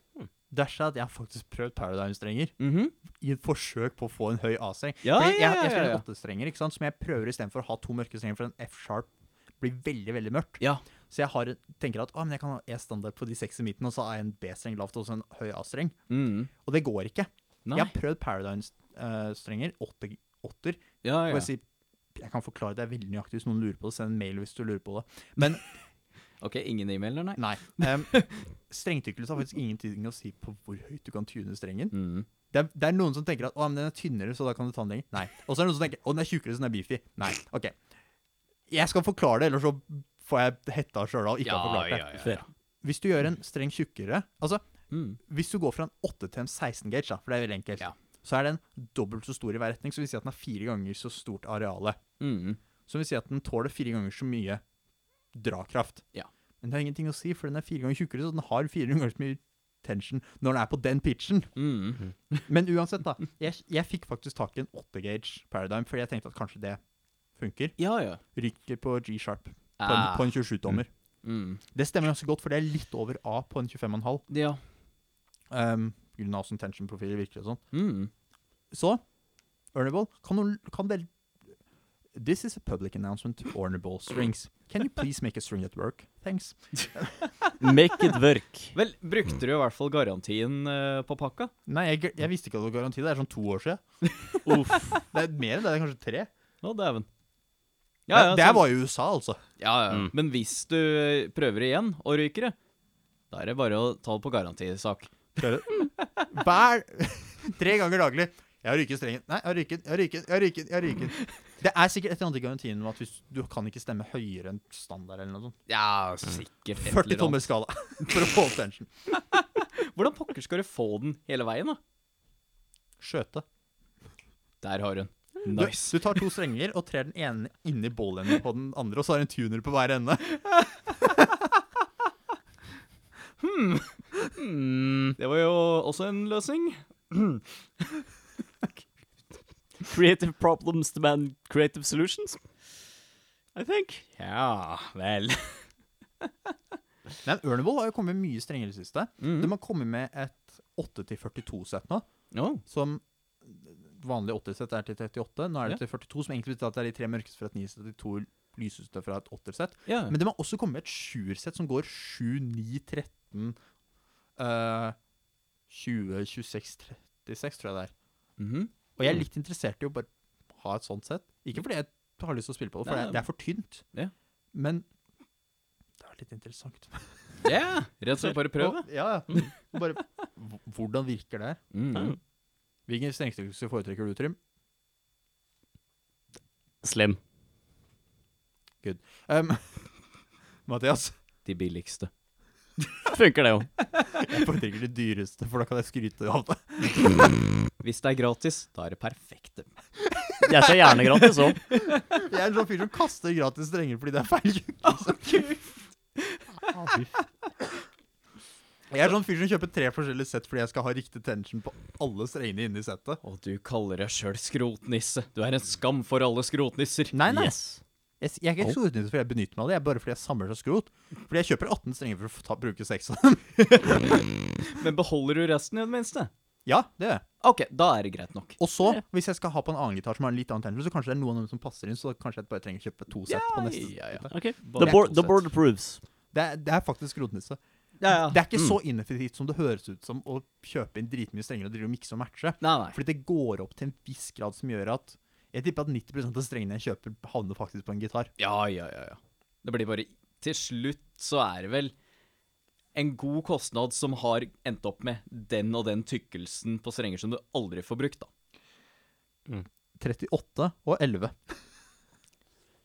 A: Dæsja at jeg har faktisk prøvd Paradigm-strenger
B: Mhm.
A: i et forsøk på å få en høy A-streng.
B: Ja,
A: Fordi jeg,
B: ja,
A: jeg
B: ja,
A: spiller
B: ja.
A: åttestrenger, ikke sant? som jeg prøver istedenfor å ha to mørke strenger, for en F-sharp blir veldig veldig mørkt.
B: Ja.
A: Så jeg har, tenker at å, men jeg kan ha E-standard på de seks i midten, og så har jeg en B-streng lavt og så en høy A-streng.
B: Mhm.
A: Og det går ikke.
B: Nei.
A: Jeg har prøvd Paradigm-strenger, åtte, åtter.
B: Ja,
A: Og
B: ja.
A: Jeg, sier, jeg kan forklare deg veldig nøyaktig hvis noen lurer på det. Send en mail hvis du lurer på det. Men
B: OK, ingen e-mailer, nei. [LAUGHS]
A: nei. Um, strengtykkelse har faktisk ingenting å si på hvor høyt du kan tune strengen.
B: Mhm.
A: Det er, det er noen som tenker at å, men den er tynnere, så da kan du ta den lenger. Nei. Og så er det noen som tenker å, den er tjukkere, så den er beefy. Nei. OK. Jeg skal forklare det, ellers så får jeg hetta sjøl av ikke å ha forklart det.
B: ja, ja.
A: Hvis du gjør en streng tjukkere Altså,
B: Mhm.
A: hvis du går fra en 8 til en 16 gauge, da, for det er veldig enkelt,
B: Ja.
A: så er den dobbelt så stor i hver retning, så vil si at den har fire ganger så stort areale.
B: Mhm.
A: Som vil si at den tåler fire ganger så mye drakraft.
B: Ja.
A: Men det har ingenting å si, for den er fire ganger tjukkere, så den har fire ganger så mye tension når den er på den pitchen.
B: Mhm.
A: Men uansett, da. Jeg, jeg fikk faktisk tak i en 8-gauge Paradigm, fordi jeg tenkte at kanskje det funker.
B: Ja, ja.
A: Ryker på G-sharp på, en-
B: Ah.
A: på en 27-tommer.
B: Mm.
A: Det stemmer ganske godt, for det er litt over A på en 25,5.
B: Ja.
A: Um, Grunna åssen tension-profiler virker og sånn.
B: Mm.
A: Så, Earnable, kan, noen, kan dere This is a public announcement to Ornable Strings. Can you please make a string that work? Thanks.
C: Make it work.
B: Vel, brukte du i hvert fall garantien eh, på pakka?
A: Nei, jeg, gl- jeg visste ikke at det var garanti. Det er sånn to år
B: [LAUGHS]
A: siden.
C: Uff.
A: Det er mer enn det, det er kanskje tre.
B: Å, dæven.
A: det, det
B: så-
A: var i USA, altså.
B: ja, ja.
C: Mm.
B: Men hvis du prøver igjen og ryker det, da er det bare å ta det på garantisak.
A: Hver "Mm, [LAUGHS] Tre ganger daglig. Jeg har ryket strengen. Nei, jeg har ryket, jeg har ryket, jeg har ryket. jeg har ryket. Det er sikkert et eller annet i garantien om at hvis, du kan ikke stemme høyere enn standard eller noe sånt.
B: Ja, sikkert.
C: Mm.
B: et
A: 40
B: eller annet.
A: tommer skala [LAUGHS] for å få opp tension.
B: Hvordan pokker skal du få den hele veien, da?
A: Skjøte.
B: Der har hun.
A: Du,
B: Nice.
A: du tar to strenger og trer den ene inni bålenden på den andre, og så har du en tuner på hver ende.
B: Mm. Det var jo også en løsning.
C: [LAUGHS] Creative problems demand creative solutions. I think.
B: Ja vel.
A: Men Ørnevold har jo kommet mye strengere i det siste.
B: Mm.
A: De har kommet med et 8-42-sett nå,
C: Oh.
B: Å,
A: som vanlig 80-sett er til 38. Nå er det til 42, som egentlig betyr at det er de tre mørkeste fra et 9-sett og de to lyseste fra et 8-sett.
B: ja.
A: Men de har også kommet med et 7-sett som går 7, 9, 13, eh, 20, 26, 36, tror jeg det er.
B: Mhm.
A: Og jeg er litt interessert i å bare ha et sånt sett. Ikke fordi jeg har lyst til å spille på det, for
B: Nei,
A: det er- det er for tynt.
B: Ja.
A: Men det er litt interessant.
B: Ja, rett og slett bare prøv, da.
A: Og- [LAUGHS] Ja, ja. Og Bare, h- hvordan virker det her?
B: Mm.
A: Hvilken strengstyrkelse foretrekker du, Trym?
C: Slim.
A: Um, [LAUGHS] Mathias,
B: De billigste.
C: Funker
B: [LAUGHS]
C: det jo.
A: jeg foretrekker det dyreste, for da kan jeg skryte av det.
B: Hvis det er gratis, da er det perfekte.
C: Jeg ser gjerne gratis òg.
A: Jeg er en sånn fyr som kaster gratis strenger fordi det er feil liksom. tjukkelse. Ah, fy f- Jeg er sånn fyr som kjøper tre forskjellige sett fordi jeg skal ha riktig tension på alle strengene inni settet.
B: Og du kaller deg sjøl skrotnisse. Du er en skam for alle skrotnisser.
A: Nei, nei.
C: Yes.
A: Jeg, s- jeg er ikke
C: Oh.
A: skrotnyttig fordi jeg benytter meg av det, jeg er bare fordi jeg samler seg skrot. Fordi jeg kjøper 18 strenger for å få ta, bruke 6 av dem. [LAUGHS]
B: Men beholder du resten i det minste?
A: Ja, det gjør jeg.
B: OK, da er det greit nok.
A: Og så, hvis jeg skal ha på en annen gitar som har en litt annen tension, så kanskje det er noen av dem som passer inn, så kanskje jeg bare trenger å kjøpe to sett på neste.
B: ja, ja.
C: Ok.
B: Bare
C: The board,
B: to
C: the
B: sett.
C: board approves.
A: Det er, det er faktisk skrotnisse.
B: ja, ja.
A: Det er ikke så ineffektivt som det høres ut som å kjøpe inn dritmye strenger og drive og mikse og matche.
B: Nei, nei.
A: Fordi det går opp til en viss grad som gjør at jeg tipper at 90 av strengene jeg kjøper, havner faktisk på en gitar.
B: Ja, ja, ja, ja. Det blir bare Til slutt så er det vel en god kostnad som har endt opp med den og den tykkelsen på strenger som du aldri får brukt, da.
A: 38 og 11.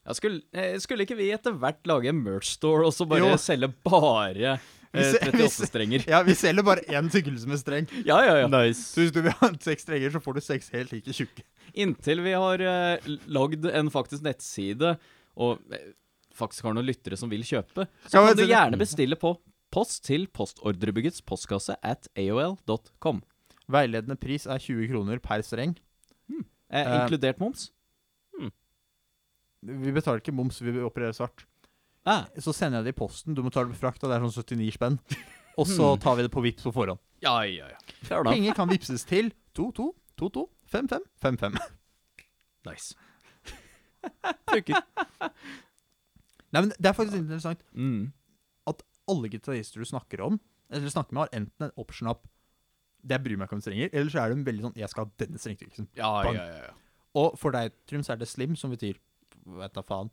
B: Jeg skulle, eh, skulle ikke vi etter hvert lage en merch store og så bare
A: Jo.
B: selge bare eh,
A: Hvis- hvis- [LAUGHS]
B: 38-strenger?
A: Ja, vi selger bare én tykkelse med streng.
B: Ja, ja, ja.
A: Så hvis du vil ha seks strenger, så får du seks helt like tjukke.
B: Inntil vi har eh, lagd en faktisk nettside og eh, faktisk har noen lyttere som vil kjøpe, så
A: Ja,
B: kan
A: men
B: du
A: det-
B: gjerne bestille på post til postordrebyggets postkasse at aol.com.
A: Veiledende pris er 20 kroner per streng.
B: Eh,
A: Eh,
B: inkludert moms?
A: Vi betaler ikke moms, vi opererer svart.
B: Ah,
A: Så sender jeg det i posten. Du må ta det på frakt, og det er sånn 79 spenn. Og [LAUGHS] så tar vi det på Vipps på forhånd.
B: ja, ja, ja.
C: Fair enough.
A: Penger kan vippses til 22 22 55 55. [LAUGHS]
B: Nice.
A: Nei, men det er faktisk interessant.
B: Mm.
A: Alle gitarister du snakker om, eller snakker med, har enten en option up det bryr meg ikke om strenger, eller så er de veldig sånn 'jeg skal ha denne strengtrykken'.
B: Ja,
A: Bang.
B: ja, ja. ja.
A: Og for deg, Trym, så er det slim, som betyr Vet da faen.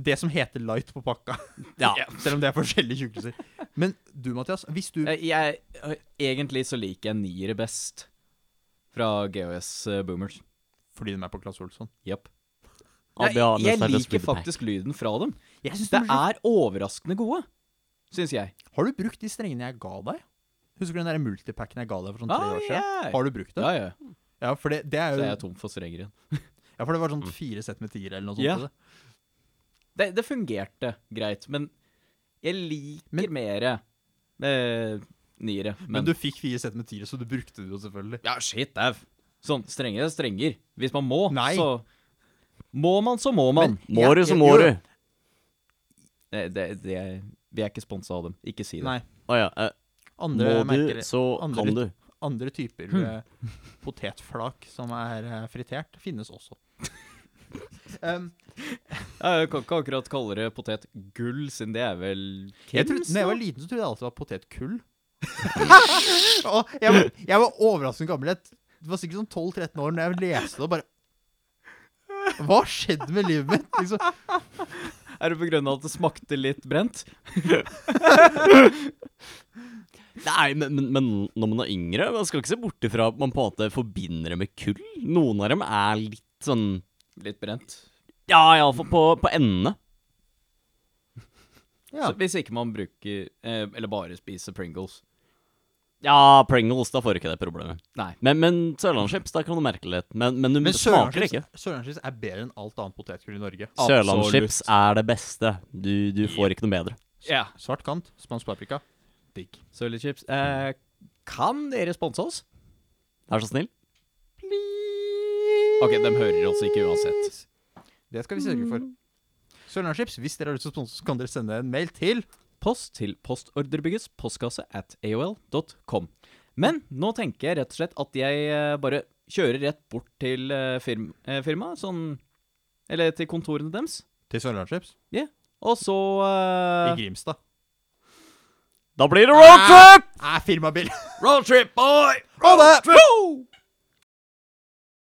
A: Det som heter light på pakka. [LAUGHS]
C: Ja.
A: Selv om det er forskjellige tjukkelser. Men du, Mathias, hvis du
B: Eh, Jeg, eh, egentlig så liker jeg niere best fra GOS eh, Boomers.
A: Fordi de er på Claes Olsson
B: Jepp.
C: I'll be
B: Jeg,
C: honest,
B: jeg liker
C: I just read the pack.
B: faktisk lyden fra dem.
A: Jeg synes
B: Det
A: de er så
B: er overraskende gode, syns jeg.
A: Har du brukt de strengene jeg ga deg? Husker du den der multipacken jeg ga deg for sånn tre
B: Ah,
A: år siden?
B: yeah.
A: Har du brukt det?
B: Ja, ja.
A: Ja, for det, det er
B: Så
A: jo
B: er jeg tom for strenger igjen.
A: Ja, for det var sånn fire sett med tiere eller noe sånt.
B: Ja.
A: til det.
B: Det, det fungerte greit, men jeg liker
A: Men-
B: mer eh, niere.
A: Men, du fikk fire sett med tiere, så du brukte det jo selvfølgelig.
B: Ja, shit, dau. Sånn, strengere er strenger. Hvis man må,
A: Nei.
B: så Må man, så må man.
C: Må
A: Ja,
C: du,
A: ja,
C: så må
A: jo,
C: du.
A: jo.
B: Det, det, det, vi er ikke sponsa av dem. Ikke si det.
A: Nei.
C: Å ja. eh,
A: Andre,
C: Må du,
A: merker,
C: så
A: andre-
C: kan du.
A: andre typer
B: Hmm.
A: eh, potetflak som er eh, fritert, finnes
B: [LAUGHS]
A: også. um,
B: Ja, Jeg kan ikke akkurat kalle det potetgull, siden det er vel
A: jeg trodde,
B: Kims,
A: når jeg var
B: da?
A: liten, så trodde jeg alltid det var potetkull. Og jeg, var, jeg var overraskende gammel. Jeg det var sikkert sånn 12-13 år når jeg leste det og bare Hva skjedde med livet mitt? Liksom,
B: Er det på grunn av at det smakte litt brent?
C: Nei, men, men, men når man er yngre, man skal ikke se bort ifra at man på en måte forbinder det med kull. Noen av dem er litt sånn
B: Litt brent.
C: Ja, iallfall på, på endene.
A: ja.
B: Så hvis ikke man bruker eh, Eller bare spiser Pringles.
C: Ja, Pringles, da får du ikke det problemet.
B: Nei.
C: Men, men sørlandschips, da kan du merke det litt. Men, men du
A: Men
C: smaker det ikke.
A: sørlandschips sørlandschips er bedre enn alt annet potetgull i Norge.
C: Sørlandschips er det beste. Du, du får ikke noe bedre.
B: Ja.
A: Svart kant, spansk paprika. Digg.
B: Sølvchips. Eh, kan dere sponse oss?
C: Vær så snill.
B: OK, de hører oss ikke uansett.
A: Det skal vi sørge for. Sørlandschips, hvis dere har lyst til å sponse, så kan dere sende en mail til
B: Post til postordrebyggets postkasse at aol.com. Men nå tenker jeg rett og slett at jeg eh, bare kjører rett bort til eh, firm, eh, firmaet, sånn Eller til kontorene deres.
A: Til Sørlandschips
B: Og så
A: i
B: eh,
A: Grimstad.
C: Da blir det roadtrip!
A: Nei, firmabil!
C: Ah,
B: Roadtrip, boy!
A: Ha det!
B: Woo!